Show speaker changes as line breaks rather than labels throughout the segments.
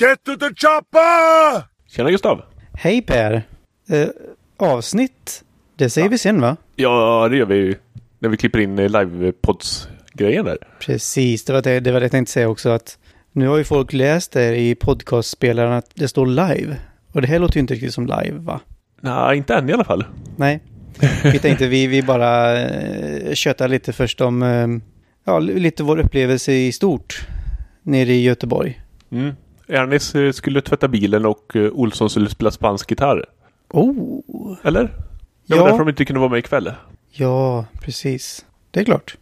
Get to the chopper!
Tjena Gustav!
Hej Per! Eh, avsnitt, det säger vi sen va?
Ja, det gör vi ju. När vi klipper in eh, livepods-grejen där.
Precis, det var det, det var det jag tänkte säga också att nu har ju folk läst det i podcastspelaren att det står live. Och det här låter ju inte riktigt som live va?
Nej, inte än i alla fall.
Nej, vi tänkte vi, vi bara eh, köttar lite först om eh, ja, lite vår upplevelse i stort nere i Göteborg.
Mm. Ernest eh, skulle tvätta bilen och eh, Olsson skulle spela spansk gitarr.
Oh!
Eller? Det var
Ja.
därför de inte kunde vara med ikväll.
Ja, precis. Det är klart.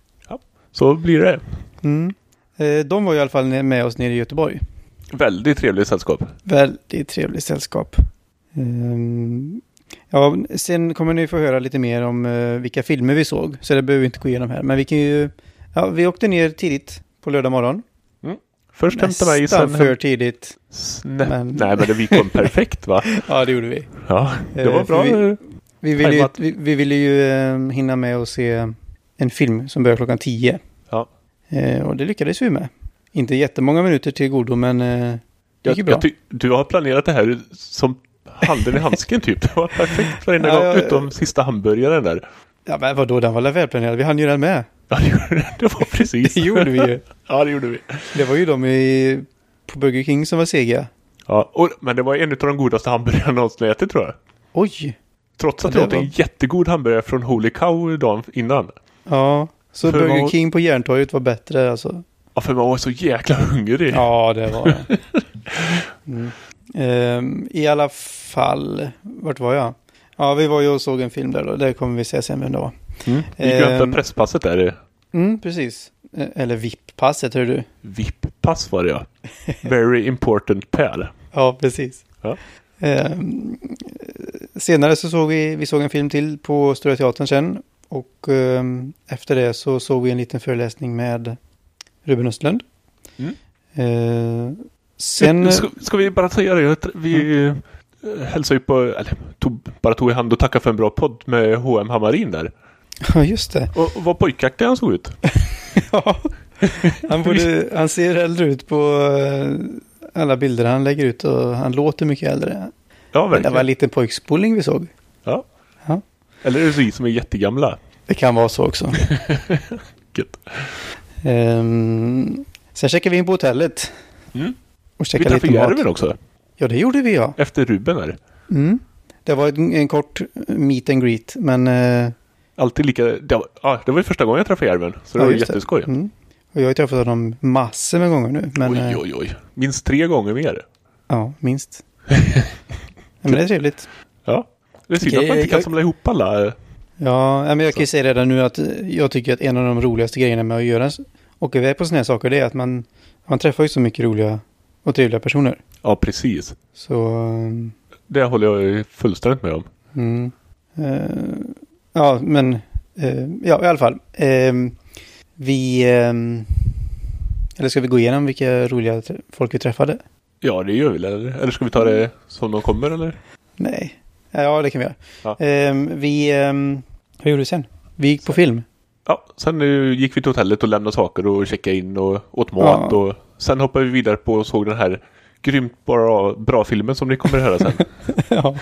Så blir det.
Mm. Eh, de var ju i alla fall med oss nere i Göteborg.
Väldigt trevligt sällskap.
Väldigt trevligt sällskap. Ehm, ja, sen kommer ni få höra lite mer om eh, vilka filmer vi såg, så det behöver vi inte gå igenom här. Men vi kan ju... Ja, vi åkte ner tidigt på lördag morgon.
Först hämtade mig,
Nästan
sen...
för tidigt.
Snä...
men-
Nej, men det gick om perfekt va?
Ja, det gjorde vi.
Ja, det
Eh,
var
för
bra.
vi- Vi ville ju,
Tajmat.
vi, vi ville ju eh, hinna med att se en film som börjar klockan 10.
Ja.
Eh, och det lyckades vi med. Inte jättemånga minuter till godo, men eh, det
Jag,
gick ju bra.
jag ty- du har planerat det här som handen i handsken typ. Det var perfekt varenda
Ja,
gång,
jag-
utom sista hamburgaren där.
ja, men vadå, den var väl välplanerad? Vi hann ju den med.
Ja, det gjorde det. Det var precis.
Det gjorde vi ju.
Ja, det gjorde vi.
Det var ju de i, på Burger King som var sega.
Ja, och, men det var en av de godaste hamburgarna någonsin jag ätit tror jag.
Oj!
Trots att
Ja,
jag
det
åt en
var-
jättegod hamburgare från Holy Cow dagen innan.
Ja, så
För
Burger
vad-
King på Järntorget var bättre alltså.
Ja, för man var så jäkla hungrig.
Ja, det var det. Mm. Ehm, I alla fall, vart var jag? Ja, vi var ju och såg en film där då. Det kommer vi se sen vem det var.
Mm. Vi gick och hämtade
Ehm.
presspasset där.
Mm, precis. Eh, Eller VIP-passet, hör du.
VIP-pass var det ja. Very important pair.
Ja, precis.
Ja.
Ehm, senare så såg vi, vi såg en film till på Stora Teatern sen. Och ehm, efter det så såg vi en liten föreläsning med Ruben Östlund.
Mm.
Ehm, sen...
Ska, ska vi bara säga det? att Vi mm. hälsade ju på, eller tog, bara tog i hand och tackade för en bra podd med H.M. Hammarin där.
Ja, just det.
Och, och vad pojkaktig han såg ut.
Ja. Han, borde, han ser äldre ut på eh, alla bilder han lägger ut och han låter mycket äldre.
Ja,
Men det
verkligen.
var en liten pojkspoling vi såg.
ja.
Ja.
Eller är det vi som är jättegamla?
Det kan vara så också.
Gött.
Ehm, sen checkade vi in på hotellet.
Mm.
Och
Vi
checkade
träffade
lite mat.
Järven också.
Ja, det gjorde vi ja.
Efter Ruben där.
Mm. Det var en, en kort meet and greet, men... eh,
Alltid lika... Det var, ja, det var ju första gången jag träffade Järven. Så det
ja,
var
just det.
jätteskoj.
Mm. Och jag har ju träffat honom massor med gånger nu, men... eh,
Oj, oj, oj. Minst tre gånger mer.
Ja, minst. ja, men det är trevligt.
Ja. Det är synd
Okej,
att man inte
jag-
kan samla ihop alla. eh,
Ja, ja, men jag kan ju säga redan nu att eh, jag tycker att en av de roligaste grejerna med att göra, åka iväg på sådana här saker, det är att man, man träffar ju så mycket roliga och trevliga personer.
Ja, precis.
Så... eh,
Det håller jag ju fullständigt med om.
Mm. Eh, ja, men eh, ja, i alla fall. Eh, vi... ehm, eller ska vi gå igenom vilka roliga tr- folk vi träffade?
Ja, det gör vi. Eller, eller ska vi ta det som de kommer eller?
Nej. Ja, det kan vi göra.
Ja.
Eh, vi... ehm, hur gjorde vi sen? Vi gick på film.
Ja, sen eh, gick vi till hotellet och lämnade saker och checkade in och åt mat
Ja.
och sen hoppade vi vidare på och såg den här grymt bra, bra filmen som ni kommer att höra sen.
ja.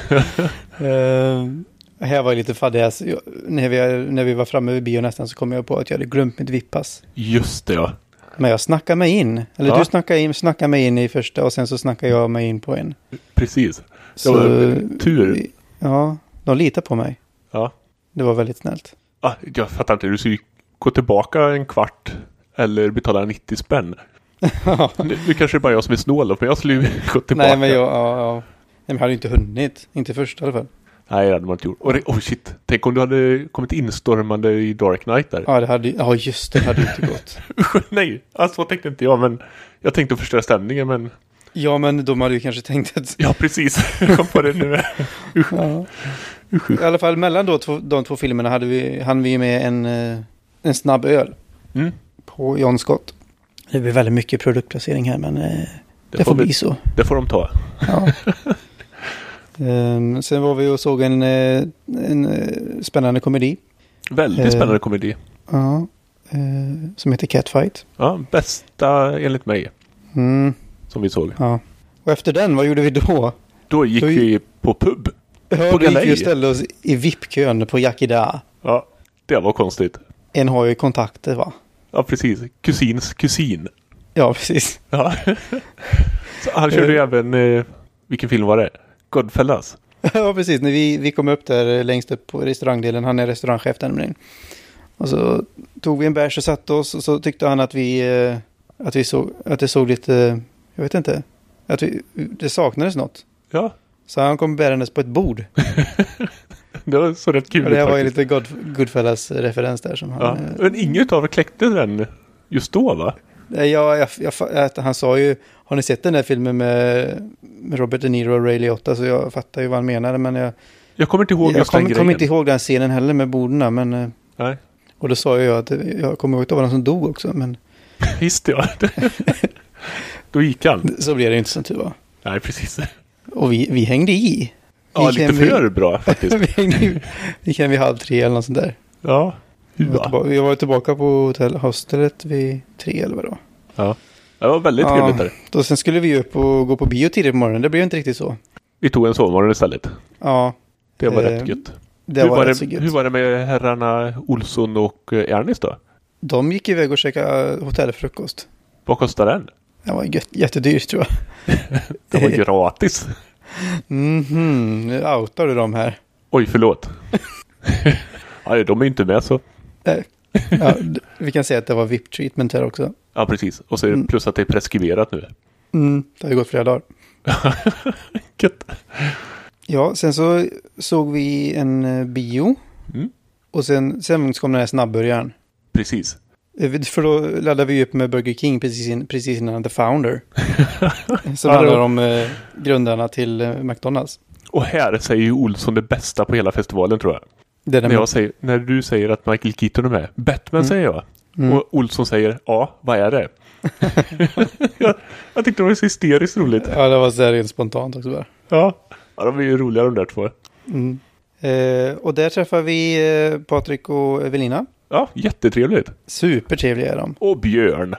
Ehm, här var jag lite faddig. Alltså, jag, när, vi, när vi var framme vid bio nästan så kom jag på att jag hade glömt mitt vippass.
Just det ja.
Men jag snackade mig in. Eller
Ja.
du snackade, in, snackade mig in i första och sen så snackade jag mig in på en.
Precis. Det
Så,
var tur.
Ja, de litar på mig.
Ja.
Det var väldigt snällt.
Ah, jag fattar inte, du ska ju gå tillbaka en kvart eller betala 90 spänn. Nu, nu kanske det är bara jag som är snål då, för jag skulle ju gå tillbaka.
Nej, men jag, ja, ja. Nej, men jag hade ju inte hunnit. Inte först i alla fall.
Nej, det hade man inte gjort. Och det, oh shit, tänk om du hade kommit instormande i Dark Knight där.
Ja, det hade, ju- ja just det, det hade ju inte gått.
Usch, Nej, alltså, så tänkte inte jag, men jag tänkte förstöra stämningen, men
Ja, men de hade ju kanske tänkt att...
ja, precis. jag kom på det nu. Mm,
Ja. I alla fall mellan då, två, de två filmerna hade vi, hann vi med en, eh, en snabb öl
Mm.
på John Scott. Det blir väldigt mycket produktplacering här, men eh, det, får bli
vi,
så.
det får de ta.
Ja. Ehm, sen var vi och såg en, eh, en eh, spännande komedi.
Väldigt
Eh.
spännande komedi.
Ja, eh, som heter Catfight.
Ja, bästa enligt mig
Mm,
som vi såg.
ja.
Och efter den, vad gjorde vi då?
Då gick
Då gi-
vi på pub.
Ja,
På
vi gick
galej.
ju och ställde oss i VIP-kön på Yakida.
Ja, det var konstigt.
En har ju kontakter va?
Ja, precis. Kusins kusin.
Ja, precis.
Ja. Så han körde ju även, eh, vilken film var det? Godfellas.
Ja, precis. När vi, vi kom upp där eh, längst upp på restaurangdelen. Han är restaurangchef där nämligen. Och så tog vi en bärs och satte oss. Och så tyckte han att vi... eh, Att, vi såg, att det såg lite... Jag vet inte. Att vi, det saknades något.
Ja,
Så han kom bärandes på ett bord.
det var så rätt kul
Och det här var ju
faktiskt.
lite God, Goodfellas-referens där som
Ja.
han... eh,
Men inget av er kläckte den just då va?
Nej, jag, jag, jag, att han sa ju, har ni sett den där filmen med, med Robert De Niro och Ray Liotta? Så jag fattar ju vad han menade, men jag,
Jag kommer inte ihåg
jag
just den
kommer
grejen.
kom inte ihåg den scenen heller med borden. Men, eh,
Nej.
och då sa jag att jag kommer ihåg att det var någon som dog också, men
Visst ja. Då gick han.
så blev det inte som tur var.
Nej, precis.
Och vi, vi hängde i.
Ja,
Gick
lite
hem vid-
för bra faktiskt.
vi hängde i. Vi gick hem vid halv tre eller något sånt där.
Ja.
Vi var,
Hua.
tillbaka, jag var tillbaka på hotell, hostelet vid tre eller vad det var.
Ja. Det var väldigt
Ja.
trevligt där.
Då sen skulle vi ju upp och gå på bio tidigt på morgonen. Det blev inte riktigt så.
Vi tog en sovmorgon istället.
Ja,
Det var
Eh,
rätt gött.
det
hur,
var,
var
rätt så
det,
gött.
hur var det med herrarna Olsson och eh, Ernest då?
De gick iväg och käkade äh, hotellfrukost.
Vad kostade den?
Den var gött, jättedyrt tror jag.
Den var gratis.
Mhm, nu outar du dem här.
Oj, förlåt. Nej, de är ju inte med så.
Ja, d- vi kan säga att det var VIP-treatment här också.
Ja, precis. Och så är det
Mm.
plus att det är preskriberat nu.
Mm, det har ju gått flera dagar.
Gött.
Ja, sen så såg vi en eh, bio.
Mm.
Och sen, sen kom den här snabbburgaren.
Precis.
Eh, vi- För då laddade vi upp med Burger King precis, in, precis innan The Founder. som
Ja, det
handlar
var-
om eh, grundarna till eh, McDonalds.
Och här säger ju Olsson det bästa på hela festivalen tror jag.
Det är den
När, jag säger, när du säger att Michael Keaton är med. Batman
Mm.
säger jag.
Mm.
Och Olsson säger ja, vad är det? jag, jag tyckte det var så hysteriskt roligt.
Ja, det var så här rent spontant också bara.
Ja. ja, de är ju roliga de där två.
Mm. Eh, och där träffar vi eh, Patrik och Evelina.
Ja, jättetrevligt.
Supertrevliga är de.
Och Björn.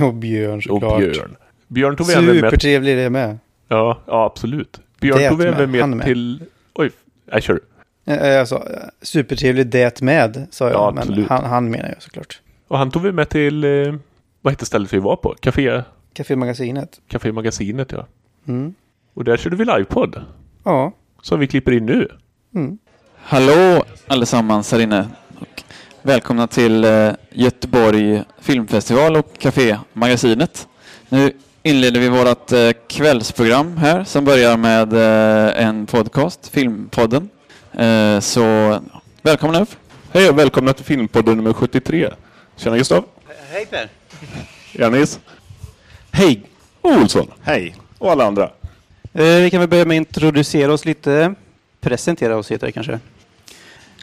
Och Björn
Och
såklart.
Björn. Björn tog vi även med.
Supertrevlig är det med.
Ja, ja absolut. Björn
Det
tog vi
med.
även
Han
med,
med.
till... Oj, nej kör.
Eh, eh, Alltså, eh, supertrevlig det med, sa jag.
Ja,
men
absolut.
han, han menar jag såklart.
Och han tog vi med till... Eh, vad hette stället vi var på? Café...
Cafémagasinet.
Café Magasinet ja.
Mm.
Och där körde vi livepodd.
Ja.
Som vi klipper in nu.
Mm.
Hallå allesammans här inne. Och välkomna till eh, Göteborg filmfestival och Café Magasinet. Nu inleder vi vårt eh, kvällsprogram här som börjar med eh, en podcast, Filmpodden. Eh, så välkomna upp.
Hej och välkomna till Filmpodden nummer 73. Tjena Gustav.
Hej Per!
Janis.
Hej!
Olsson.
Hej!
Och alla andra.
Eh,
vi kan väl börja med att introducera oss lite. Presentera oss heter det kanske.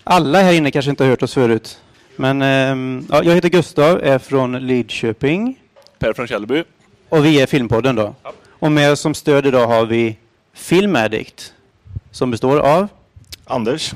Alla här inne kanske inte har hört oss förut. Men ehm, ja, jag heter Gustav, är från Lidköping.
Per från Källby.
Och vi är Filmpodden då. Och med oss som stöd idag har vi Film Addict. Som består av...
Anders.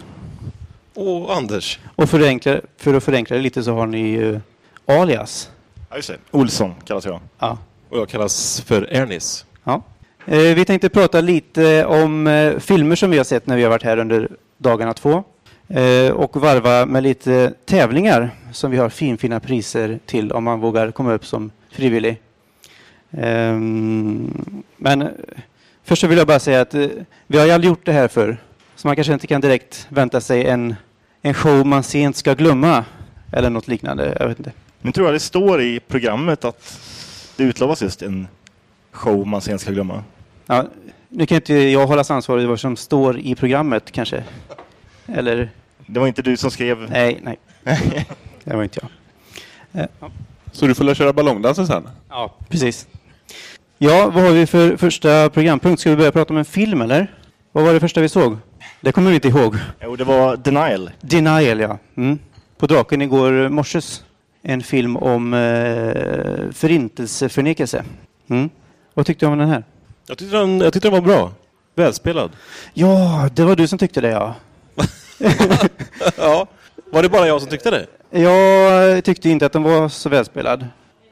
Och Anders.
Och förenkla, för att förenkla det lite så har ni ju alias.
Ja, just det. Olsson kallas jag.
Ja.
Och jag kallas för Ernis.
Ja. Eh, Vi tänkte prata lite om eh, filmer som vi har sett när vi har varit här under dagarna två. Eh, Och varva med lite tävlingar som vi har finfina priser till om man vågar komma upp som frivillig. Ehm, Men eh, först så vill jag bara säga att eh, vi har ju aldrig gjort det här förr. Så man kanske inte kan direkt vänta sig en, en show man sent ska glömma. Eller något liknande. Jag vet inte.
Nu tror jag det står i programmet att det utlovas just en show man sen ska glömma.
Ja, nu kan inte jag hållas ansvarig för vad som står i programmet kanske. Eller?
Det var inte du som skrev.
Nej, nej. Det var inte jag.
Så du får lära köra ballongdansen sen?
Ja, precis. Ja, vad har vi för första programpunkt? Ska vi börja prata om en film eller? Vad var det första vi såg? Det kommer vi inte ihåg.
Jo, det var Denial.
Denial, ja. Mm. På Draken igår morses. En film om eh, förintelseförnekelse. Mm. Vad tyckte du om den här?
Jag tyckte den, jag tyckte den var bra. Välspelad.
Ja, det var du som tyckte det ja.
Ja. Var det bara jag som tyckte det?
Jag tyckte inte att den var så välspelad.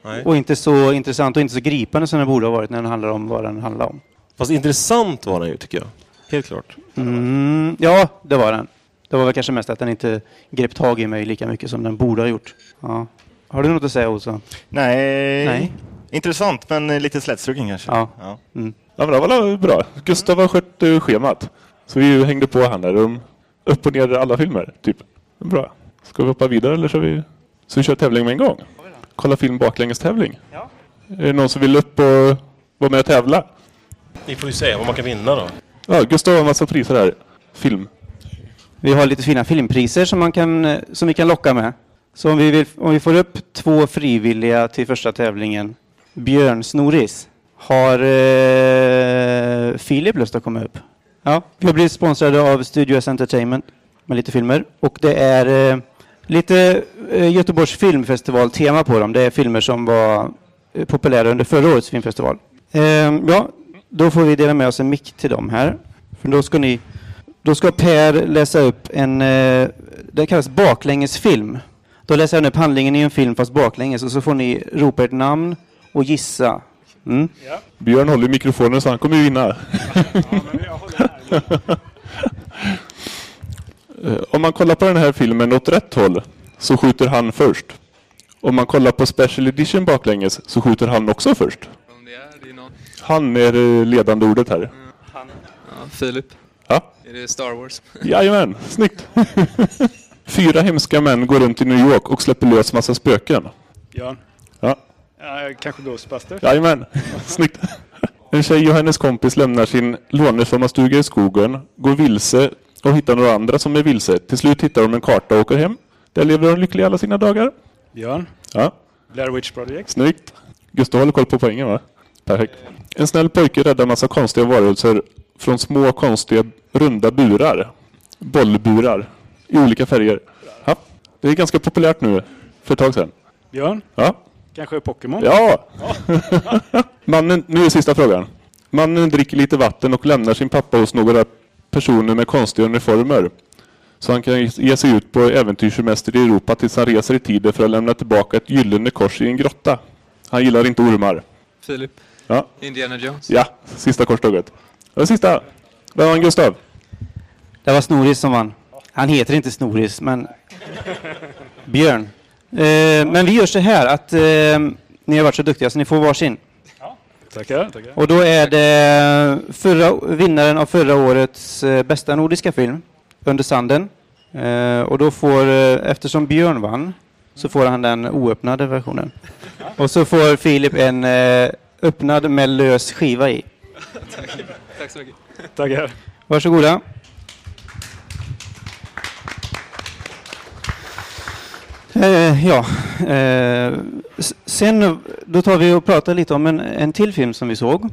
Nej.
Och inte så intressant och inte så gripande som den borde ha varit när den handlar om vad den handlar om.
Fast intressant var den ju, tycker jag. Helt klart.
Mm, ja, det var den. Det var väl kanske mest att den inte grep tag i mig lika mycket som den borde ha gjort. Ja. Har du något att säga Olsson?
Nej.
Nej.
Intressant, men eh, lite slätstruken kanske.
Ja.
Ja.
Ja, men det var väl bra. Gustav har skött eh, schemat. Så vi hängde på han där. um, Upp och ner i alla filmer, typ. Bra. Ska vi hoppa vidare eller ska vi... Så vi kör tävling med en gång? Kolla film baklängestävling. Är det någon som vill upp och vara med och tävla?
Vi får ju se vad man kan vinna då.
Ja, Gustav har en massa priser här. Film.
Vi har lite fina filmpriser som, man kan, eh, som vi kan locka med. Så om vi, vill, om vi får upp två frivilliga till första tävlingen, Björn Snoris, har eh, Filip lust att komma upp? Ja, vi har blivit sponsrade av Studios Entertainment med lite filmer. Och det är eh, lite eh, Göteborgs filmfestival-tema på dem. Det är filmer som var eh, populära under förra årets filmfestival. Eh, ja, då får vi dela med oss en mick till dem här. För då ska ni då ska Per läsa upp en, eh, det kallas baklängesfilm. Då läser han upp handlingen i en film fast baklänges och så får ni ropa ert namn och gissa. Mm.
Björn håller i mikrofonen så han kommer ju vinna. Eh, Om man kollar på den här filmen åt rätt håll så skjuter han först. Om man kollar på Special Edition baklänges så skjuter han också först. Han är det ledande ordet här.
Ja, Filip.
Ja.
Är det Star Wars?
Jajamän, snyggt! Fyra hemska män går runt i New York och släpper lös massa spöken.
Björn?
Ja.
Ja, kanske Ghostbusters?
Jajamän, snyggt. En tjej och hennes kompis lämnar sin lånesommarstuga i skogen, går vilse och hittar några andra som är vilse. Till slut hittar de en karta och åker hem. Där lever de lyckliga alla sina dagar.
Björn?
Ja,
Blair Witch Project?
snyggt. Gustav håller koll på poängen va? Perfekt. En snäll pojke räddar massa konstiga varelser från små konstiga runda burar. Bollburar. I olika färger. Ja, det är ganska populärt nu. För ett tag sedan.
Björn?
Ja,
Kanske Pokémon?
Ja! Mannen, nu är sista frågan. Mannen dricker lite vatten och lämnar sin pappa hos några personer med konstiga uniformer. Så han kan ge sig ut på äventyrssemester i Europa tills han reser i tiden för att lämna tillbaka ett gyllene kors i en grotta. Han gillar inte ormar.
Filip.
Ja,
Indiana Jones.
ja sista korståget. Ja, sista. Vem vann Gustav?
Det var Snoris som vann. Han heter inte Snoris, men Björn. Eh, men vi gör så här att eh, ni har varit så duktiga så ni får varsin.
Tackar, tackar.
Och då är det förra, vinnaren av förra årets eh, bästa nordiska film, Under sanden. Eh, och då får, eh, eftersom Björn vann, så får han den oöppnade versionen. Och så får Filip en eh, öppnad med lös skiva i.
Tack så mycket.
tackar.
Varsågoda. Eh, ja, eh, s- sen då tar vi och pratar lite om en, en till film som vi såg.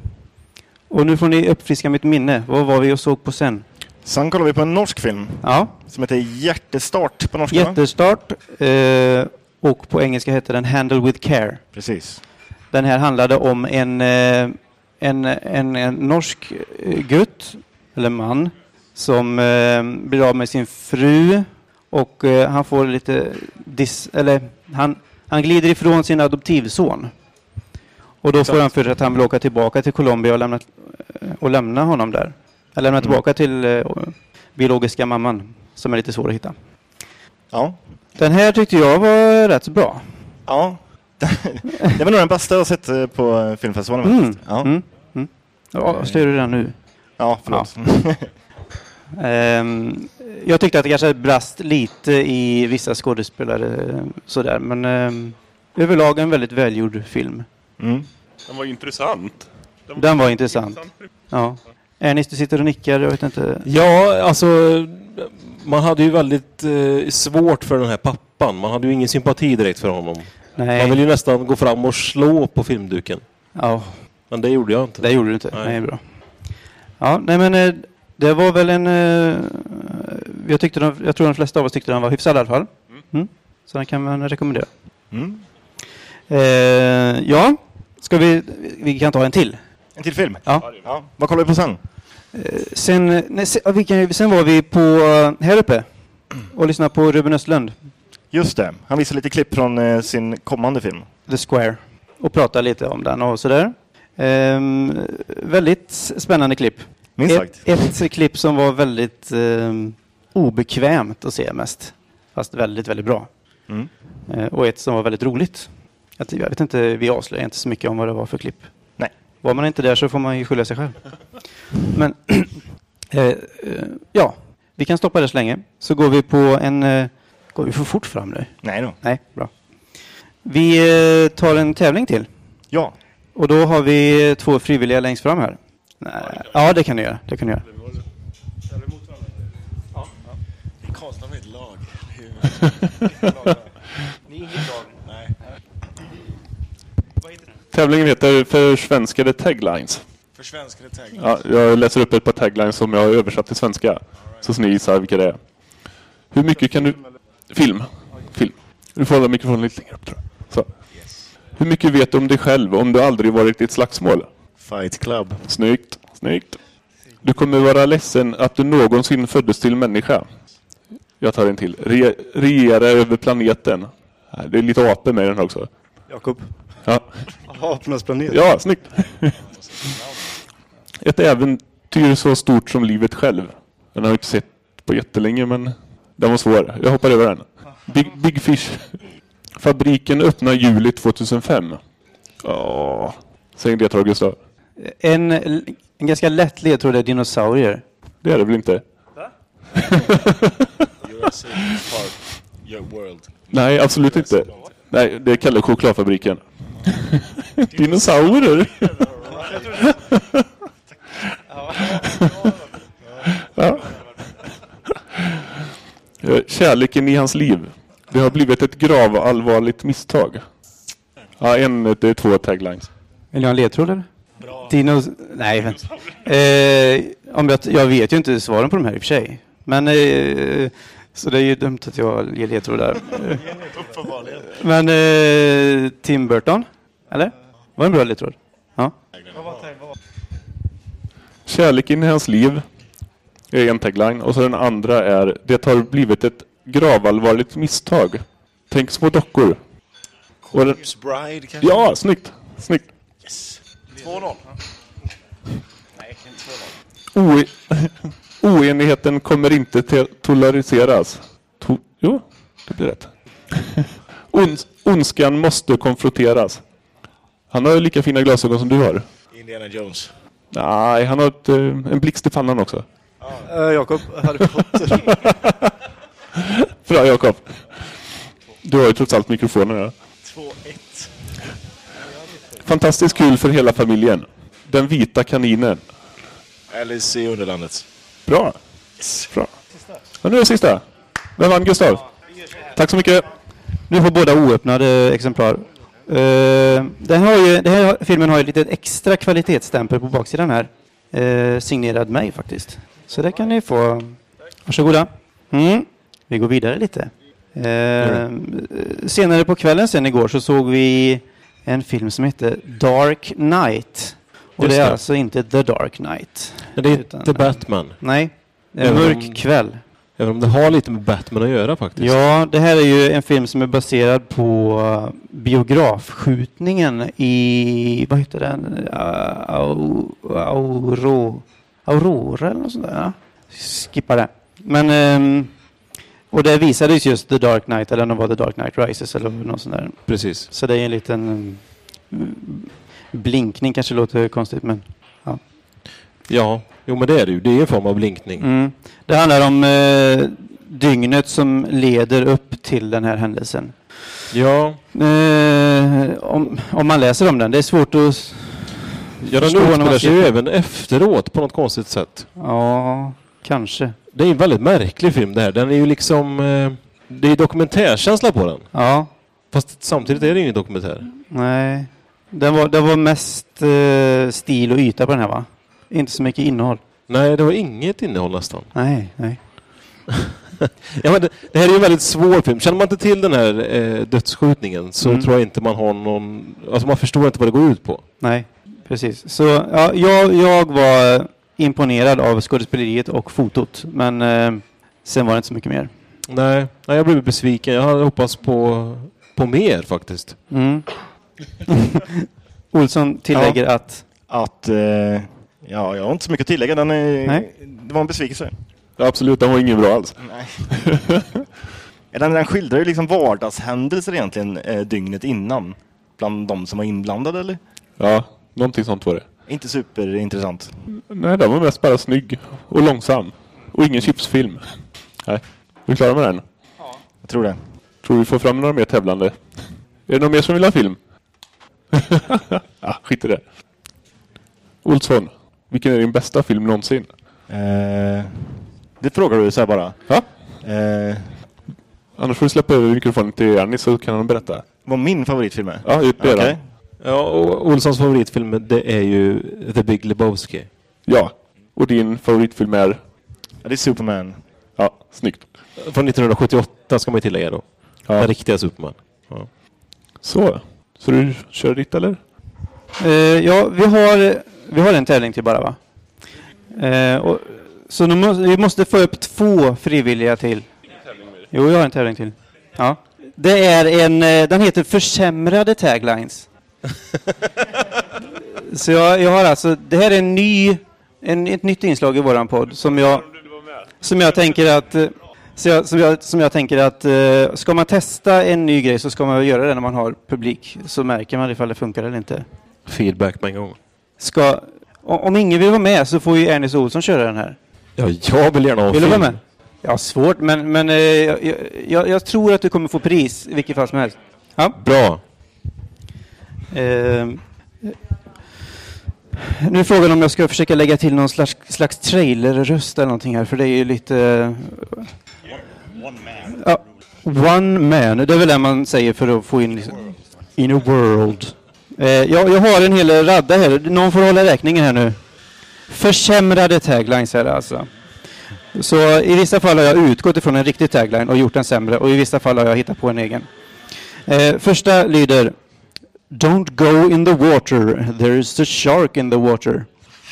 Och nu får ni uppfriska mitt minne. Vad var vi och såg på sen?
Sen kollar vi på en norsk film
Ja,
som heter Hjärtestart på norska. va?
Jättestart. Eh, och på engelska heter den Handle with Care.
Precis.
Den här handlade om en, eh, en, en, en norsk eh, gutt, eller man, som eh, blir av med sin fru och eh, han får lite dis, eller han, han glider ifrån sin adoptivson. Och då får han för sig att han vill åka tillbaka till Colombia och lämna, eh, och lämna honom där. Eller lämna tillbaka till eh, biologiska mamman, som är lite svår att hitta.
Ja.
Den här tyckte jag var rätt bra.
ja. det var nog den bästa jag har sett eh, på eh, filmfestivalen.
Mm.
faktiskt. Ja.
Mm. Mm. Avslöjar du den nu?
ja, förlåt.
Ehm, jag tyckte att det kanske brast lite i vissa skådespelare eh, sådär, men ehm, överlag en väldigt välgjord film.
Mm.
Den var intressant.
Den var intressant. Ja. Ernest, du sitter och nickar, jag vet inte.
Ja, alltså... Man hade ju väldigt eh, svårt för den här pappan. Man hade ju ingen sympati direkt för honom. Man
Nej,
ville ju nästan gå fram och slå på filmduken.
ja,
Men det gjorde jag inte.
det gjorde du inte.
Nej.
Nej, bra. Ja, nej men eh, det var väl en... eh, jag, tyckte de, jag tror de flesta av oss tyckte den var hyfsad i alla fall. Mm. Så den kan man rekommendera.
Mm.
Eh, ja, ska vi... Vi kan ta en till.
En till film?
Ja.
ja. Vad kollar vi på sen?
Sen, eh, nej, sen, ja, vilken, sen var vi på eh, här uppe och lyssnade på Ruben Östlund,
Just det, han visar lite klipp från eh, sin kommande film.
The Square, och pratade lite om den och sådär. Ehm, väldigt spännande klipp.
Minst sagt.
Ett, ett klipp som var väldigt ehm, obekvämt att se mest. Fast väldigt, väldigt bra.
Mm.
Eh, och ett som var väldigt roligt. Jag, jag vet inte, vi avslöjar inte så mycket om vad det var för klipp.
Nej.
Var man inte där så får man ju skylla sig själv. Men eh, eh, ja, vi kan stoppa det så länge. Så går vi på en... Eh, går vi för fort fram nu?
Nej då.
Nej, bra. Vi eh, tar en tävling till.
Ja.
Och då har vi eh, två frivilliga längst fram här. Nej. Ja, det kan ni göra. Det kan ni göra.
Karlstad var ett lag.
Tävlingen heter Försvenskade taglines.
För svenskar är tagg.
Ja, jag läser upp ett par taglines som jag har översatt till svenska. Så ni gissar vilka det är. Hur mycket kan du... Film. Film. Du får hålla mikrofonen lite längre upp tror jag. Så. Hur mycket vet du om dig själv om du aldrig varit i ett slagsmål?
Fight Club.
Snyggt, snyggt. Du kommer vara ledsen att du någonsin föddes till människa. Jag tar en till. Re- regera över planeten. Nej, Det är lite apor med i den här också.
Jakob.
Ja,
Apornas planet.
ja snyggt. Ett äventyr så stort som livet själv. Den har jag inte sett på jättelänge men den var svår. Jag hoppar över den. Big, big Fish. Fabriken öppnar juli 2005. Ja, säg en ledtråd Gustav.
En, l- en ganska lätt ledtråd är dinosaurier.
Det är det väl inte?
Jurassic Park. Your world.
Nej, absolut inte. Nej, det är Kalle Chokladfabriken. Dinosaurer! ja. Eh, Kärleken i hans liv. Det har blivit ett gravallvarligt misstag. Ja, en, det är två taglines.
Vill ni ha en ledtråd eller? Dinos... Nej, vänta. Eh, om jag, jag vet ju inte svaren på de här i och för sig. Men... Eh, så det är ju dumt att jag ger ledtrådar. Men... Eh, Tim Burton? Eller? Var det en bra ledtråd? Ja.
Kärleken i hans liv är en tagline och så den andra är Det har blivit ett gravallvarligt misstag. Tänk små dockor. Och den,
Miss Bride kanske?
ja, snyggt! Snyggt!
2-0.
Oe- Oenigheten kommer inte te- toleriseras. To- jo, det blir rätt. Ons- ondskan måste konfronteras. Han har ju lika fina glasögon som du har.
Indiana Jones.
Nej, han har ett, eh, en blixt i pannan också.
Jakob?
Bra Jakob. Du har ju trots allt mikrofonen. Ja.
2-1.
Fantastiskt kul för hela familjen. Den vita kaninen.
Alice i Underlandet.
Bra. Bra. Och nu är det sista. Vem vann Gustav? Tack så mycket.
Nu får båda oöppnade exemplar. Eh, den, har ju, den här filmen har ju lite extra kvalitetsstämpel på baksidan här. Eh, signerad mig faktiskt. Så det kan ni få. Varsågoda. Mm. Vi går vidare lite. Eh, senare på kvällen sen igår så såg vi en film som hette Dark Knight. Och
Just
det är
det.
alltså inte The Dark Knight.
Men det är
Utan-
inte Batman.
Nej, det är en
Även om-
mörk kväll.
Även om det har lite med Batman att göra faktiskt.
Ja, det här är ju en film som är baserad på eh, biografskjutningen i, vad heter den, Eh, Au, Auro, Aurora eller något sånt där. ja. Skippa det. Men, ehm, och där visades just The Dark Knight, eller om det var The Dark Knight Rises eller något sånt där.
Precis.
Så det är en liten mm, blinkning, kanske låter konstigt men.
Ja, jo men det är det ju. Det är en form av blinkning.
Mm. Det handlar om eh, dygnet som leder upp till den här händelsen.
Ja,
Eh, om, om man läser om den. Det är svårt att...
ja den
Förstår när man
utspelar sig
ser
ju
den.
även efteråt på något konstigt sätt.
Ja, kanske.
Det är en väldigt märklig film det här. Den är ju liksom... Eh, det är dokumentärkänsla på den.
Ja,
Fast samtidigt är det ju ingen dokumentär.
nej. Den var, den var mest eh, stil och yta på den här va? Inte så mycket innehåll.
Nej, det var inget innehåll nästan.
Nej, nej.
Ja, men det, det här är ju en väldigt svår film. Känner man inte till den här eh, dödsskjutningen så
Mm.
tror jag inte man har någon... Alltså man förstår inte vad det går ut på.
Nej, precis. Så ja, jag, jag var imponerad av skådespeleriet och fotot. Men eh, sen var det inte så mycket mer.
Nej, nej jag blev besviken. Jag hade hoppats på, på mer faktiskt.
Mm. Olsson tillägger att...
Att, eh, ja, jag har inte så mycket att tillägga. Den är,
Nej.
Det var en besvikelse.
Ja, absolut, den var ingen bra alls.
Den, den skildrar ju liksom vardagshändelser egentligen eh, dygnet innan. Bland de som var inblandade eller?
Ja, någonting sånt var det.
Inte superintressant.
Nej, den var mest bara snygg och långsam. Och ingen chipsfilm. Nej, vi är klara med den.
Jag tror det.
Tror vi får fram några mer tävlande. Är det någon mer som vill ha film? ah, skit i det. Olsson, vilken är din bästa film någonsin?
Eh, det frågar du så här bara.
Ja?
Eh,
Annars får du släppa över mikrofonen till Janni så kan han berätta.
vad min favoritfilm är?
Ja, ut med
Okej.
den.
Ja, och Olssons favoritfilm det är ju The Big Lebowski.
Ja. Och din favoritfilm är?
Ja, det är Superman.
Ja, snyggt.
Från 1978 ska man ju tillägga då. Den riktiga Superman.
Så. Så du kör ditt eller?
Eh, ja, vi har, vi har en tävling till bara va? Eh, och, så nu må, vi måste få upp två frivilliga till. Jo, jag har en tävling till. Ja. Det är en, eh, den heter Försämrade taglines. så jag, jag har alltså, det här är en ny, en, ett nytt inslag i våran podd som jag, som jag tänker att eh, så jag, som, jag, som jag tänker att eh, ska man testa en ny grej så ska man väl göra det när man har publik. Så märker man ifall det funkar eller inte
Feedback med en gång.
ska... o- Om ingen vill vara med så får ju Ernest Olsson köra den här.
Ja, jag vill gärna ha en
Vill du
film.
vara med? Ja, svårt, men, men eh, jag, jag, jag tror att du kommer få pris i vilket fall som helst.
Bra.
Eh, nu är frågan om jag ska försöka lägga till någon slags, slags trailerröst eller någonting här, för det är ju lite... Ja, one man. Det är väl det man säger för att få in... Liksom, in a world. Eh, jag, jag har en hel radda här. Någon får hålla räkningen här nu. Försämrade taglines här alltså. Så i vissa fall har jag utgått ifrån en riktig tagline och gjort den sämre och i vissa fall har jag hittat på en egen. Eh, första lyder Don't go in the water. There is a shark in the water.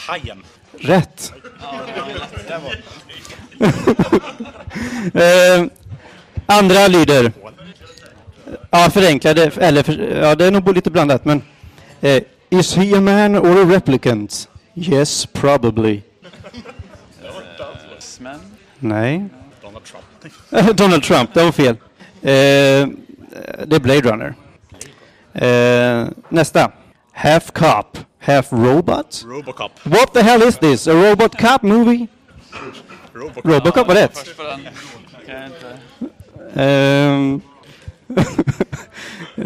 Hajen.
Rätt. eh, andra lyder. Ja, förenklade. Eller, för, ja, det är nog lite blandat, men. Eh, is he a man or a replicant? Yes, probably. Nej. Donald Trump. Donald Trump, det var fel. Eh, det är Blade Runner. Eh, nästa. Half cop, half robot.
Robocop.
What the hell is this? A robot cop movie?
Robocop.
Robocop var rätt. Ehm, eh,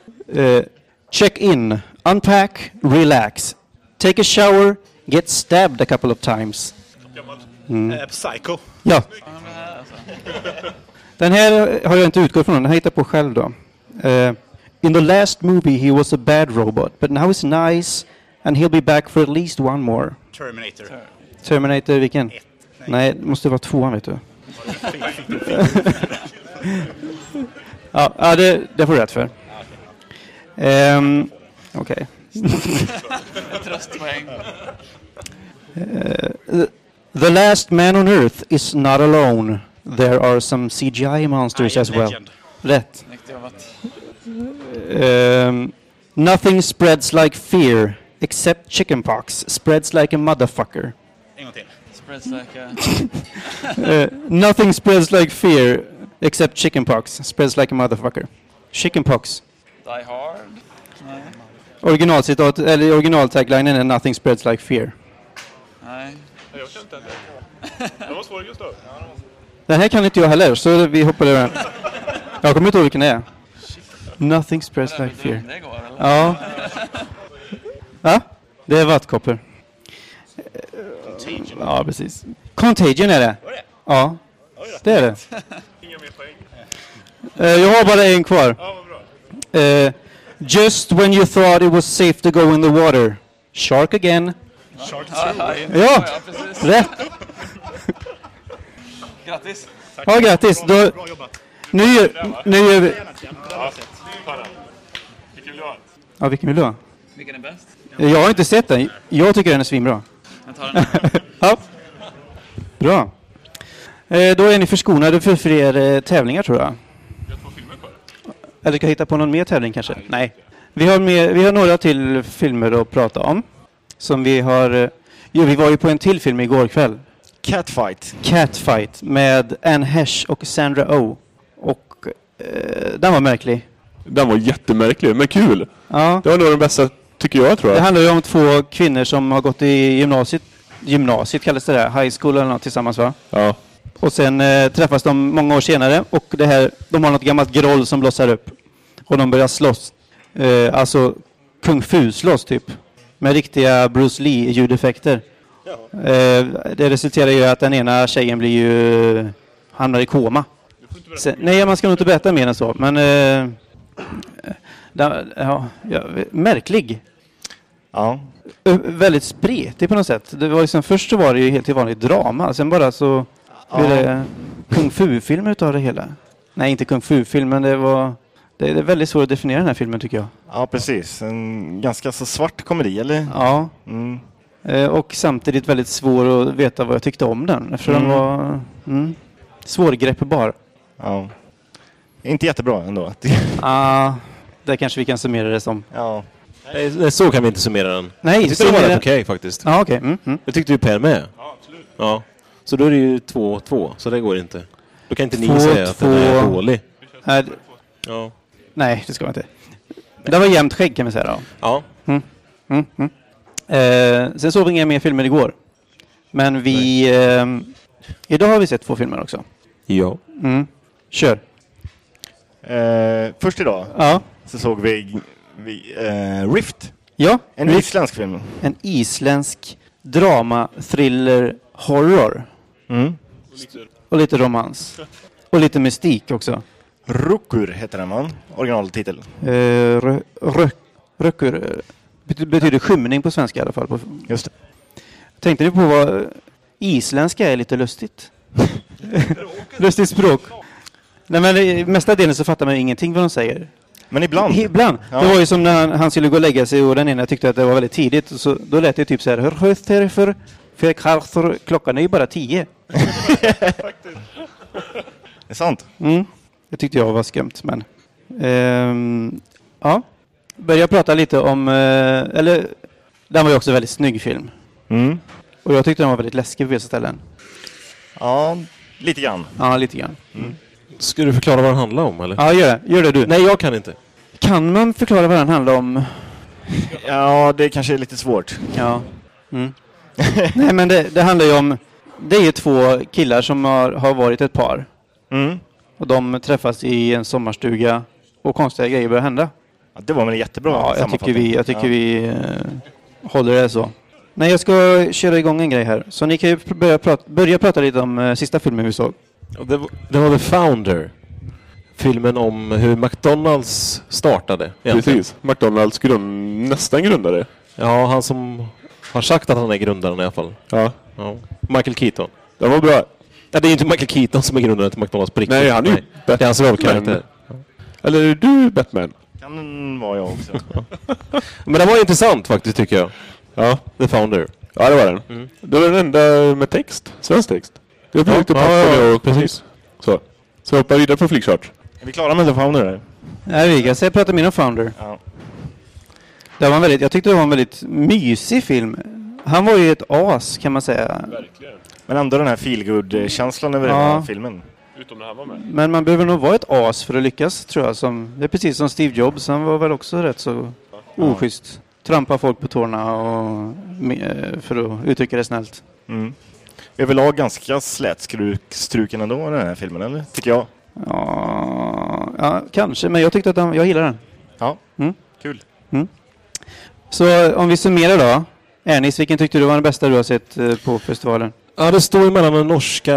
eh, check in, unpack, relax. Take a shower, get stabbed a couple of times. Mm.
Eh, Psycho.
Ja. Den här har jag inte utgått från, den här hittar jag på själv då. Eh, in the last movie he was a bad robot, but now he's nice and he'll be back for at least one more.
Terminator.
Terminator vilken? Nej, det måste vara tvåan vet du. ja, ja det, det får du rätt för. Ehm, Okej.
Tröstpoäng.
The last man on earth is not alone. There are some CGI monsters as well.
Legend.
Rätt.
Snyggt jobbat.
Ehm, nothing spreads like fear except chickenpox spreads like a motherfucker.
En gång till.
Spreads like a...
Eh, nothing spreads like fear except chickenpox spreads like a motherfucker. Chickenpox.
Die hard. Nej.
Originalcitat, eller originaltaglinen är Nothing spreads like fear.
Nej.
Den här kan inte jag heller, så vi hoppar över den. Jag kommer inte ihåg vilken det är. Nothing spreads like fear.
Det går eller?
Ja. Ja, det är vattkoppor. Ja, precis. Contagion är det. Ja, det är det. Eh, Jag har bara en kvar. Eh, Just when you thought it was safe to go in the water. Shark again. Ja,
Ja, precis.
rätt.
Grattis.
Ja, grattis. Då, nu, gör- nu gör vi... Ja, vilken vill du ha?
Vilken är bäst?
Jag har inte sett den. Jag tycker den är svinbra.
Jag tar den här.
Ja. Bra. Eh, då är ni förskonade för fler eh, tävlingar tror jag. Eller ska jag hitta på någon mer tävling kanske? Nej. Vi har, med, vi har några till filmer att prata om. Som vi har... eh, Jo, vi var ju på en till film igår kväll.
Catfight.
Catfight med Anne Hesh och Sandra Oh. Och eh, den var märklig.
Den var jättemärklig, men kul.
Ja.
Det var nog den bästa, tycker jag, tror
Det
jag.
handlar ju om två kvinnor som har gått i gymnasiet. Gymnasiet kallas det där. High school eller något tillsammans va?
Ja.
Och sen eh, träffas de många år senare och det här, de har något gammalt groll som blossar upp. Och de börjar slåss. Eh, alltså kung fu-slåss typ. Med riktiga Bruce Lee-ljudeffekter. Eh, det resulterar ju i att den ena tjejen blir ju... hamnar i koma. Sen, nej, man ska nog inte berätta mer än så. Men... Eh, den, ja, ja, märklig.
Ja.
Ö, Eh, väldigt spretig på något sätt. Det var liksom, först så var det ju helt i vanligt drama, sen bara så blev det kung fu-film utav det hela. Nej, inte kung fu-film, men det var... Det det är väldigt svårt att definiera den här filmen tycker jag.
ja, precis. En ganska så svart komedi, eller?
Ja.
Mm.
Eh, Och samtidigt väldigt svår att veta vad jag tyckte om den. Eftersom den var mm, svårgreppbar.
Ja. Inte jättebra ändå.
Ah, där kanske vi kan summera det som.
ja.
Nej, nej, så kan vi inte summera den.
Nej,
Jag tyckte den var rätt okej faktiskt.
Ja, okej. Mm, mm.
Det tyckte ju Per med. Ja, absolut. Ja. Så då är det ju 2-2, så det går inte. Då kan inte ni
Två,
säga att den är
två.
dålig.
Nej, d-
Ja.
Nej, det ska man inte. Det var jämnt skägg kan vi säga då.
ja.
Mm, mm. Eh, sen såg vi inga mer filmer igår. Men vi... ehm, idag har vi sett två filmer också.
Ja.
Mm. Kör.
Eh, först idag
Ja.
så såg vi, vi eh, Rift.
Ja.
En isländsk film.
En isländsk drama, thriller, horror.
Mm.
Och lite romans. Och lite mystik också.
Rukur heter den va? Originaltitel.
Eh, rö- rö- rökur. eh, bety- Betyder skymning på svenska i alla fall. På-
Just det.
Tänkte ni på vad isländska är lite lustigt? lustigt språk. Nej men i mesta delen så fattar man ju ingenting vad de säger.
Men ibland.
Ibland.
Ja.
Det var ju som när han, han skulle gå och lägga sig och den ena tyckte att det var väldigt tidigt. och Så, då lät det typ så här. "Hör, höster för- för karthor." Klockan är ju bara tio.
Det är sant.
Mm. Det tyckte jag var skumt, men... Ehm, ja. Börja prata lite om... eh, eller, den var ju också en väldigt snygg film.
Mm.
Och jag tyckte den var väldigt läskig på vissa ställen.
Ja, lite grann.
Ja, lite grann.
Ska du förklara vad den handlar om eller?
Ja, gör det. Gör det du.
Nej, jag kan inte.
Kan man förklara vad den handlar om?
Ja, det kanske är lite svårt.
Ja. Mm. Nej, men det, det handlar ju om... Det är ju två killar som har, har varit ett par.
Mm.
Och de träffas i en sommarstuga och konstiga grejer börjar hända.
Ja, det var väl en jättebra
Ja, jag tycker
sammanfattning.
vi, jag tycker
ja.
vi eh, håller det så. Nej, jag ska köra igång en grej här. Så ni kan ju pr- börja prata, börja prata lite om eh, sista filmen vi såg.
Ja, Det var, det var The Founder. Filmen om hur McDonalds startade. egentligen.
Precis. McDonalds grund... nästan grundare.
Ja, han som har sagt att han är grundaren i alla fall.
Ja.
Ja. Michael Keaton.
Den var bra.
Ja, det är ju inte Michael Keaton som är grundaren till McDonalds på riktigt.
Nej, han är ju
Det är hans
Batman.
rollkaraktär.
Eller är du Batman?
Kan vara jag också.
Men den var intressant faktiskt tycker jag.
Ja.
The Founder.
Ja, det var den. Det var den enda med text. Svensk text. Jag försökte
Mm. ja,
passa
ja,
det och precis. Så. Så jag hoppar vidare på Flickchart.
Är vi klara med The Founder? eller?
Nej, vi kan säga prata mer om Founder.
Ja.
Det var en väldigt, jag tyckte det var en väldigt mysig film. Han var ju ett as kan man säga.
Men ändå den här feelgood-känslan över
Ja.
hela filmen.
Men man behöver nog vara ett as för att lyckas tror jag. Som, det är precis som Steve Jobs. Han var väl också rätt så oschysst. Trampa folk på tårna och, eh, för att uttrycka det snällt.
Mm. Överlag ganska slätstruken ändå den här filmen, eller? Tycker jag.
Ja, ja kanske. Men jag tyckte att den, jag gillar den.
Ja,
Mm.
kul.
Så eh, om vi summerar då. Ernis, vilken tyckte du var den bästa du har sett eh, på festivalen?
Ja, det står ju mellan den norska,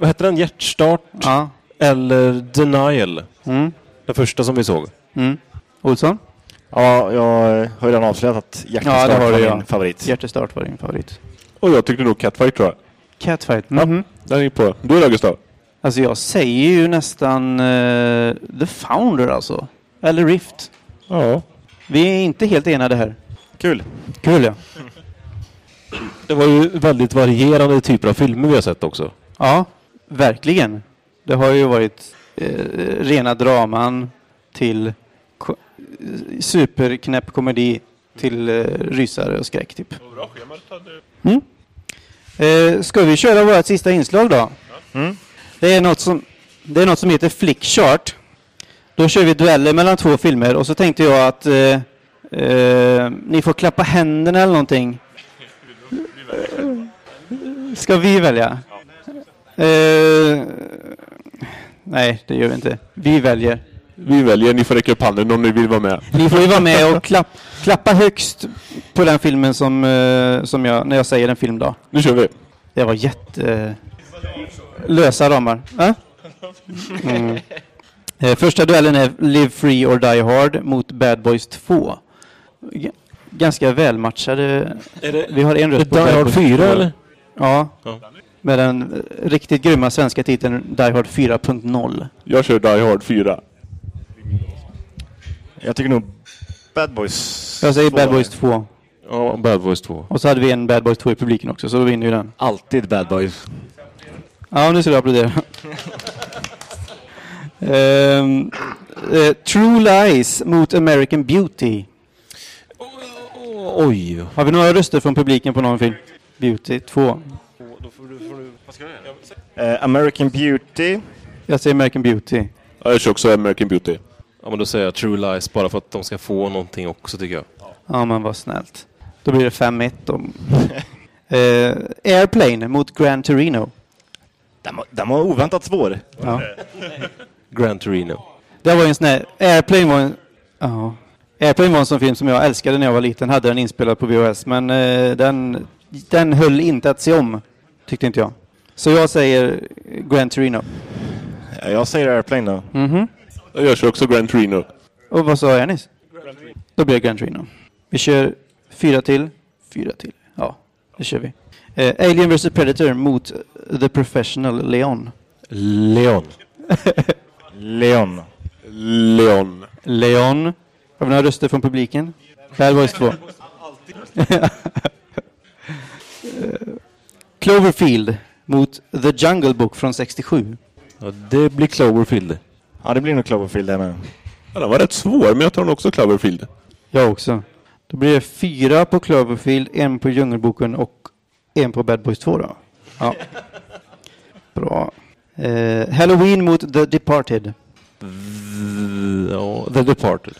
vad heter den, Hjärtstart
Ja.
eller Denial.
Mm.
Den första som vi såg.
Mm. Olsson?
Ja, jag eh, har ju redan avslöjat att
Ja,
Hjärtestart
det har du,
var min
ja.
favorit.
Hjärtestart var din favorit.
Och jag tyckte nog Catfight tror jag.
Catfight. Mm.
Den gick på. Du då Gustav?
Alltså jag säger ju nästan eh, The Founder alltså. Eller Rift.
Ja.
Vi är inte helt enade här.
Kul.
Kul ja.
Det var ju väldigt varierande typer av filmer vi har sett också.
Ja, verkligen. Det har ju varit eh, rena draman till ko- eh, superknäpp komedi till eh, rysare och skräck typ.
Bra schemat hade
Eh, ska vi köra vårt sista inslag då?
Mm.
Det, är något som, det är något som heter flickchart. Då kör vi dueller mellan två filmer och så tänkte jag att eh, eh, ni får klappa händerna eller någonting. Ska vi välja? Eh, nej, det gör vi inte. Vi väljer.
Vi väljer, ni får räcka upp handen om ni vill vara med.
Ni får ju vara med och klapp, klappa högst på den filmen som, eh, som jag, när jag säger en film då.
Nu kör vi.
Det var jätte... Lösa ramar. Ja? Mm. Eh, Första duellen är Live Free or Die Hard mot Bad Boys 2. G- ganska välmatchade.
Är det
Vi har en röst på
Die Hard 4 eller?
Ja.
Ja.
Med den eh, riktigt grymma svenska titeln Die Hard 4.0.
Jag kör Die Hard 4.
Jag tycker nog Bad Boys.
Jag säger Bad
två.
Boys 2.
Ja, Bad Boys 2.
Och så hade vi en Bad Boys 2 i publiken också, så då vinner ju den.
Alltid Bad Boys.
Ja, nu ska du applådera. Ehm, eh, True Lies mot American Beauty.
Oj.
Har vi några röster från publiken på någon film? Beauty 2.
Eh, American Beauty.
Jag säger American Beauty.
Ja, Jag kör också American Beauty.
Ja, men då säger jag True Lies bara för att de ska få någonting också tycker jag.
Ja, men vad snällt. Då blir det 5-1 om... Eh, Airplane mot Gran Torino.
Den var, den var oväntat svår.
Ja.
Gran Torino.
Det var ju en sån här... Airplane var en... Ja. Airplane var en sån film som jag älskade när jag var liten. Hade den inspelad på VHS. Men eh, den, den höll inte att se om. Tyckte inte jag. Så jag säger Gran Torino.
Ja, Eh, Jag säger Airplane då.
Ja, Jag kör också Grand Torino.
Och vad sa jag nyss? Då blir det Gran Torino. Vi kör fyra till. Fyra till. Ja, det kör vi. Eh, Alien vs Predator mot eh, The Professional Leon.
Leon.
Leon.
Leon.
Leon. Har vi några röster från publiken? Bad Boys 2. Eh, Cloverfield mot The Jungle Book från 67.
Ja, det blir Cloverfield.
Ja, det blir nog Cloverfield där med.
Ja, den var rätt svår, men jag tar nog också Cloverfield.
Jag också. Då blir det fyra på Cloverfield, en på Djungelboken och en på Bad Boys 2 då. Ja. Bra. Eh, Halloween mot The Departed.
Ja, The Departed.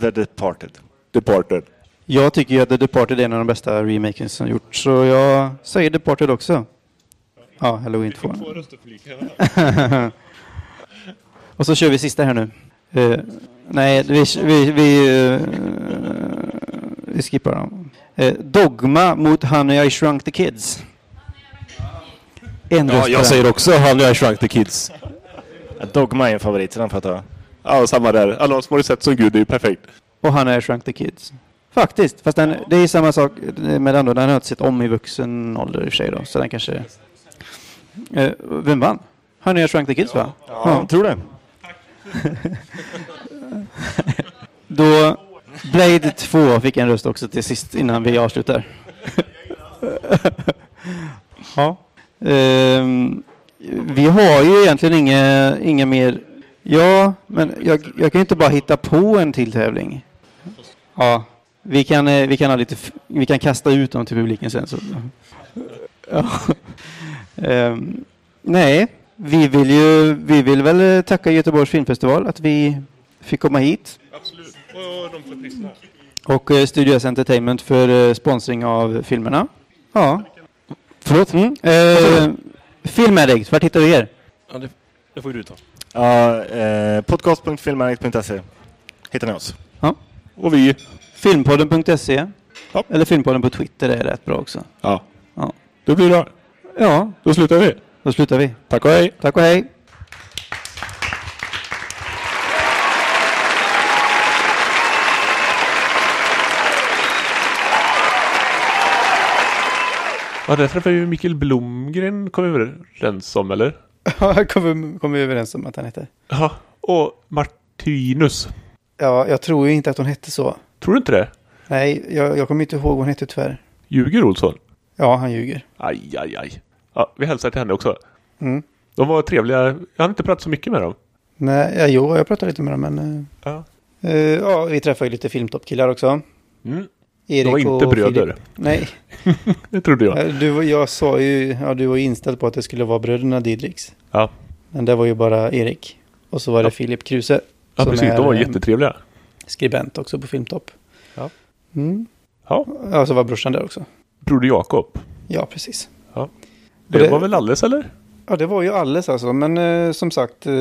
The Departed.
Departed.
Jag tycker ju att The Departed är en av de bästa remakes som gjorts, så jag säger Departed också. Ja, Halloween 2. och så kör vi sista här nu. Eh, nej, vi, vi, vi, eh, vi skippar dem. Eh, Dogma mot Honey I Shrunk the Kids. En
Ja,
röst på den.
jag säger också Honey I Shrunk the Kids.
Eh, Dogma är en favorit, så den får jag ta.
Ja, samma där. Alla som har sett som gud är ju perfekt.
Och han är Shrunk the Kids. Faktiskt, fast den, det är ju samma sak med den då. Den har jag inte sett om i vuxen ålder i och för sig då, så den kanske... Eh, vem vann? Han är Shrunk the Kids va? Ja.
Tror det.
Då Blade 2 fick en röst också till sist innan vi avslutar. ja. Ehm, vi har ju egentligen inga, inga mer... Ja, men jag, jag kan ju inte bara hitta på en till tävling. Ja, vi kan, eh, vi kan, ha lite, f- vi kan kasta ut dem till publiken sen. Så. Ja. Ehm, nej, vi vill, ju, vi vill väl eh, tacka Göteborgs filmfestival att vi fick komma hit. Och eh, Studio S Entertainment för eh, sponsring av filmerna. Ja. Förlåt? Mm. Eh, Filmaddict, vart hittar vi er?
Ja, det, det får ju du ta.
Ja, eh, podcast.filmärket.se hittar ni oss.
Och vi.
Filmpodden.se.
Ja.
E. Eller Filmpodden på Twitter är rätt bra också.
Ja.
Ja.
Då blir det.
Ja,
Då slutar vi.
då slutar vi.
Tack och hej.
Tack och hej.
Ja, där träffade ju Mikael Blomgren, kom vi överens om, eller?
Ja, kommer kom vi överens om att han heter.
Ja. Och Martinus.
Ja, jag tror ju inte att hon hette så.
Tror du inte det?
Nej, jag, jag kommer inte ihåg vad hon hette tyvärr.
Ljuger Olsson?
Ja, han ljuger.
Aj, aj, aj. Ja, vi hälsar till henne också.
Mm.
De var trevliga. Jag har inte pratat så mycket med dem.
Nej, ja, jo, jag pratade lite med dem, men eh,
Ja.
Eh, ja, vi träffar ju lite filmtoppkillar också.
Mm.
Erik
De var inte
och
bröder.
Filip. Nej,
Det trodde jag.
eh, du, var- jag sa ju, ja, du var ju inställd på att det skulle vara bröderna Didriks.
Ja.
Men det var ju bara Erik. Och så var det Filip Kruse.
Ja,
som
precis.
är,
De var
eh,
jättetrevliga.
Skribent också på Filmtopp.
Ja.
Mm.
Ja.
Ja, så var brorsan där också.
Broder Jakob.
Ja, precis.
Det,
det-
var väl alldeles, eller?
Ja, det var ju alldeles alltså. Men eh, som sagt, eh,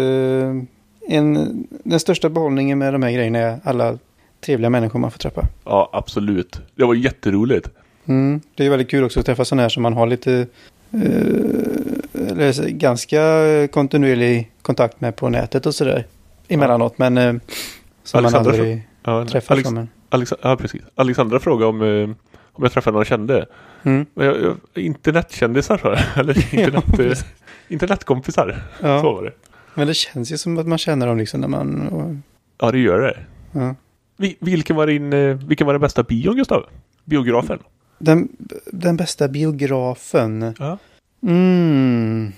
en, den största behållningen med de här grejerna är alla trevliga människor man får träffa.
Ja, absolut. Det var jätteroligt.
Mm. Det är väldigt kul också att träffa sådana här som man har lite, eh, eller så- ganska kontinuerlig kontakt med på nätet och sådär emellanåt. Men eh, som man
Alexandra
aldrig
Ja,
träffar
Alex-
som en.
Alexa- ja, precis. Alexandra frågade om, eh, om jag träffade någon jag kände.
Mm.
Men jag, jag, internetkändisar, sa jag. Eller internet, eh, internetkompisar. Så
Ja.
var det.
Men det känns ju som att man känner dem liksom när man... Och,
Ja, det gör det.
ja.
Vi, vilken, var din, eh, vilken var den bästa bion, Gustav? Biografen?
den, den bästa biografen.
Ja.
Mm.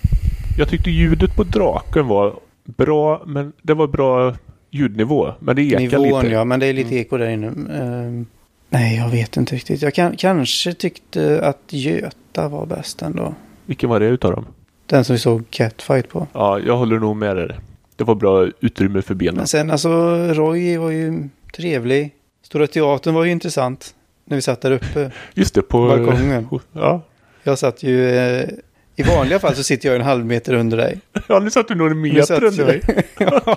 Jag tyckte ljudet på draken var bra, men det var bra ljudnivå. Men det ekade
Nivån
lite.
ja, men det är lite eko där inne. Ehm, nej, jag vet inte riktigt. Jag kan, kanske tyckte att Göta var bäst ändå.
Vilken var det utav dem?
Den som vi såg Catfight på.
Ja, jag håller nog med dig. Det var bra utrymme för benen.
Men sen alltså, Roy var ju trevlig. Stora Teatern var ju intressant. När vi satt där uppe
Just det,
på
på...
balkongen.
Ja.
Jag satt ju... eh, I vanliga fall så sitter jag en halv meter under dig.
ja, nu satt du någon
Nu satt
meter under
jag-
dig.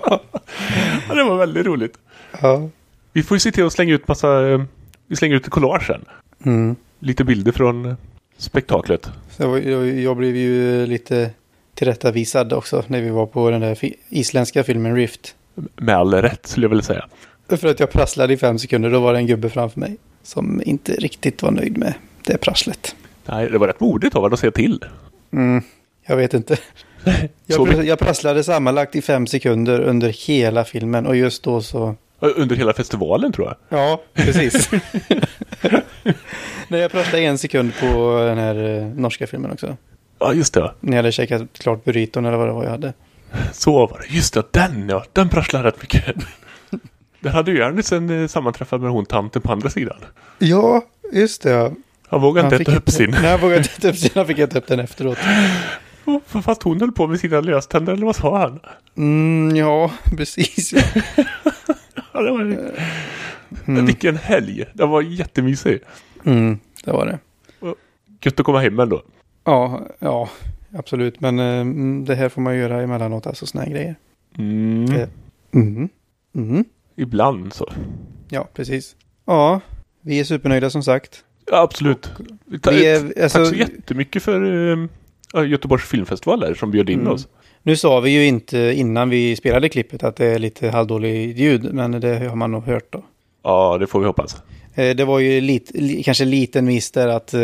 ja, det var väldigt roligt.
Ja.
Vi får ju se till att slänga ut massa... eh, Vi slänger ut ett collage sen.
Mm.
Lite bilder från eh, spektaklet.
Så jag, var- jag, jag blev ju lite tillrättavisad också när vi var på den där fi- isländska filmen Rift.
Med all rätt, skulle jag vilja säga.
För att jag prasslade i fem sekunder, då var det en gubbe framför mig som inte riktigt var nöjd med det prasslet.
Nej, det var rätt modigt av honom att säga till.
Mm. Jag vet inte.
Så
Jag, pr- jag prasslade sammanlagt i fem sekunder under hela filmen och just då så...
Under hela festivalen, tror jag.
Ja, precis. Nej, jag prasslade en sekund på den här eh, norska filmen också.
Ja, just det.
När jag hade käkat klart burriton eller vad det var jag hade.
Så var det. Just det, den ja. Den prasslar rätt mycket. Där hade ju Ernitsen eh, sammanträffat med hon tanten på andra sidan.
Ja, just det. ja.
Han vågade
Han
inte äta
fick
upp sin.
Nej, jag vågade inte äta upp sin. Han fick äta upp den efteråt.
Fast hon höll på med sina löständer, eller vad sa han?
Mm, ja, precis.
Ja, det var... Vilken helg! Det var jättemysig.
Mm, det var det.
Gött att komma hem ändå.
Ja, ja, absolut. Men eh, mm, det här får man ju göra emellanåt, alltså såna här grejer.
Mm.
Det-
Mm-hmm.
Mm. Mm.
Ibland så.
Ja, precis. Ja, vi är supernöjda som sagt.
Ja, absolut. Vi ta-
Vi är,
Tack
alltså,
så jättemycket för eh, ja, Göteborgs filmfestival där, som bjöd in
Mm.
oss.
nu sa vi ju inte innan vi spelade klippet att det är lite halvdåligt ljud, men det har man nog hört då.
Ja, det får vi hoppas.
Eh, Det var ju lite, li, kanske en liten miss där att eh,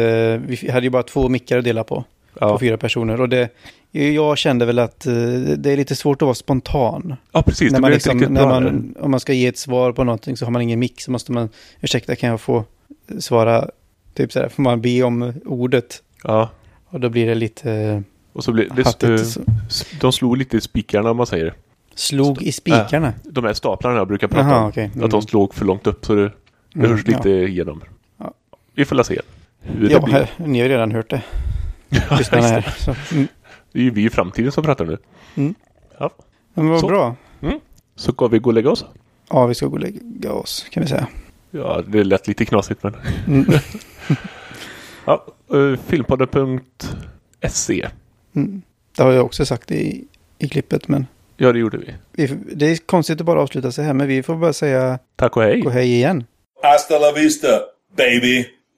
vi hade ju bara två mickar att dela på, på
Ja,
fyra personer. Och det, jag kände väl att eh, det är lite svårt att vara spontan.
ja precis.
när
Det
man
blev
liksom,
inte riktigt
när
bra.
man, om man ska ge ett svar på någonting så har man ingen mick så måste man, ursäkta kan jag få svara, typ så här, får man be om ordet
Ja,
och då blir det lite eh,
och så blev det...
hattigt. Så-
S- De slog lite i spikarna om man säger.
Slog i spikarna.
De här staplarna jag brukar prata
Jaha,
om.
okej. Mm.
Att de slog för långt upp så det, det hörs lite
Ja.
igenom.
Ja.
Vi får la se hur det
Ja,
blir.
här, ni har ju redan hört det.
Ja, just
Lyssnarna
det.
här. Så, mm.
Det är ju vi i framtiden som pratar nu.
Men vad
Så.
bra.
Så ska vi gå och lägga oss.
Ja, vi ska gå och lägga oss kan vi säga.
Ja, det lät lite knasigt men.
Mm.
Ja, eh, filmpodden.se.
Mm. Det har jag också sagt i, i klippet men
Ja, det gjorde vi.
vi, det är konstigt att bara avsluta så här men vi får bara säga
Tack och hej.
gå hej igen.
Hasta la vista, baby.